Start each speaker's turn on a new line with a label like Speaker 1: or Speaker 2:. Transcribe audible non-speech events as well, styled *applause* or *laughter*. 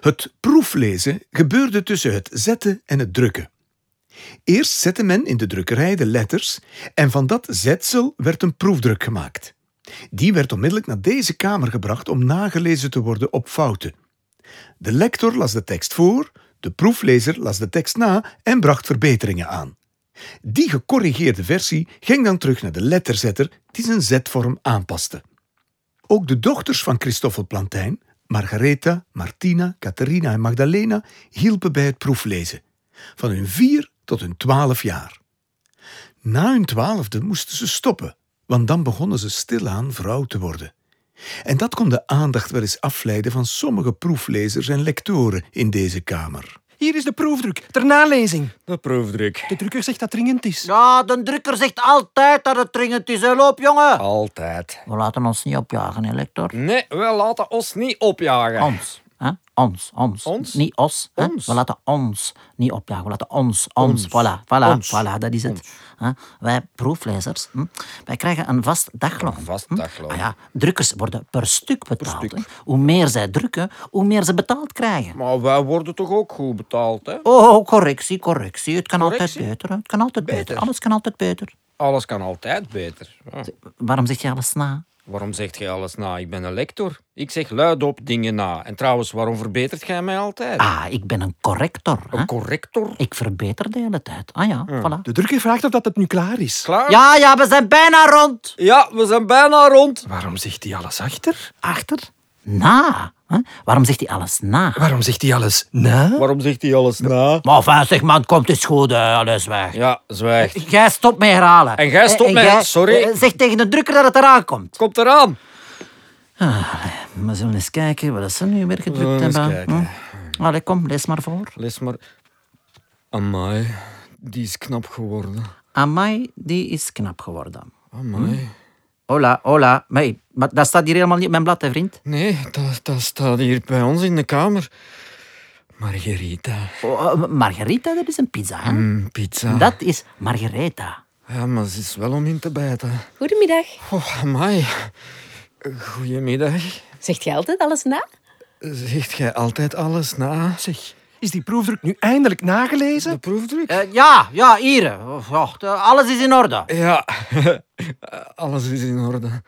Speaker 1: Het proeflezen gebeurde tussen het zetten en het drukken. Eerst zette men in de drukkerij de letters en van dat zetsel werd een proefdruk gemaakt. Die werd onmiddellijk naar deze kamer gebracht om nagelezen te worden op fouten. De lector las de tekst voor, de proeflezer las de tekst na en bracht verbeteringen aan. Die gecorrigeerde versie ging dan terug naar de letterzetter die zijn zetvorm aanpaste. Ook de dochters van Christoffel Plantijn, Margaretha, Martina, Catharina en Magdalena, hielpen bij het proeflezen, van hun vier tot hun twaalf jaar. Na hun twaalfde moesten ze stoppen, want dan begonnen ze stilaan vrouw te worden. En dat kon de aandacht wel eens afleiden van sommige proeflezers en lectoren in deze kamer.
Speaker 2: Hier is de proefdruk, ter nalezing.
Speaker 3: De proefdruk.
Speaker 2: De drukker zegt dat dringend is.
Speaker 4: Ja, de drukker zegt altijd dat het dringend is. Hè? Loop, jongen.
Speaker 3: Altijd.
Speaker 4: We laten ons niet opjagen, hè, lector.
Speaker 3: Nee, we laten ons niet opjagen.
Speaker 4: Ons. Hè? Ons, ons.
Speaker 3: Ons?
Speaker 4: Niet os. Hè?
Speaker 3: Ons.
Speaker 4: We laten ons niet opjagen. We laten ons, ons. Voilà, voilà, voilà. Dat is het. Hè? Wij proeflezers, hm? wij krijgen een vast dagloon.
Speaker 3: Een vast
Speaker 4: hm?
Speaker 3: dagloon.
Speaker 4: Ah ja, drukkers worden per stuk betaald. hè. Hoe meer zij drukken, hoe meer ze betaald krijgen.
Speaker 3: Maar wij worden toch ook goed betaald, hè?
Speaker 4: Oh, correctie, correctie. Het kan
Speaker 3: Correctie?
Speaker 4: altijd beter. hè. Het kan altijd beter.
Speaker 3: Beter.
Speaker 4: Alles kan altijd beter.
Speaker 3: Alles kan altijd beter. Ja.
Speaker 4: Waarom zeg je alles na?
Speaker 3: Waarom zegt jij alles na? Ik ben een lector. Ik zeg luidop dingen na. En trouwens, waarom verbetert jij mij altijd?
Speaker 4: Ah, ik ben een corrector. hè.
Speaker 3: Een corrector?
Speaker 4: Ik verbeter de hele tijd. Ah ja, voilà.
Speaker 2: De drukker vraagt of dat het nu klaar is.
Speaker 3: Klaar?
Speaker 4: Ja, ja, we zijn bijna rond.
Speaker 3: Ja, we zijn bijna rond.
Speaker 2: Waarom zegt hij alles achter?
Speaker 4: Achter? Na. hè? Waarom zegt hij alles na?
Speaker 2: Waarom zegt hij alles na?
Speaker 3: Waarom zegt hij alles na?
Speaker 4: Maar vijftig man, komt eens goed, hè, alles weg.
Speaker 3: Ja, zwijgt.
Speaker 4: Jij stopt met herhalen.
Speaker 3: En jij stopt
Speaker 4: Eh,
Speaker 3: met- sorry.
Speaker 4: eh, Zeg tegen de drukker dat het eraan komt.
Speaker 3: Komt eraan.
Speaker 4: We zullen eens kijken wat ze nu weer gedrukt
Speaker 3: zullen eens
Speaker 4: hebben.
Speaker 3: kijken.
Speaker 4: Hm? Allee, kom, lees maar voor.
Speaker 3: Lees maar. Amai, die is knap geworden.
Speaker 4: Amai, die is knap geworden.
Speaker 3: Amai.
Speaker 4: Hola, hola. Nee, maar dat staat hier helemaal niet op mijn blad, hè, vriend.
Speaker 3: Nee, dat, dat staat hier bij ons in de kamer. Margarita.
Speaker 4: Oh, eh, Margarita, dat is een pizza. hè?
Speaker 3: Mm, pizza.
Speaker 4: Dat is Margaretha.
Speaker 3: Ja, maar ze is wel om in te bijten.
Speaker 5: Goedemiddag.
Speaker 3: Oh, amai. Goedemiddag.
Speaker 5: Zegt jij altijd alles na?
Speaker 3: Zegt jij altijd alles na, zeg?
Speaker 2: Is die proefdruk nu eindelijk
Speaker 3: De
Speaker 2: nagelezen?
Speaker 3: proefdruk?
Speaker 4: Eh, ja, ja, eh,
Speaker 3: *laughs*
Speaker 4: hier. Oh, oh, alles is in orde.
Speaker 3: Ja, alles is in orde.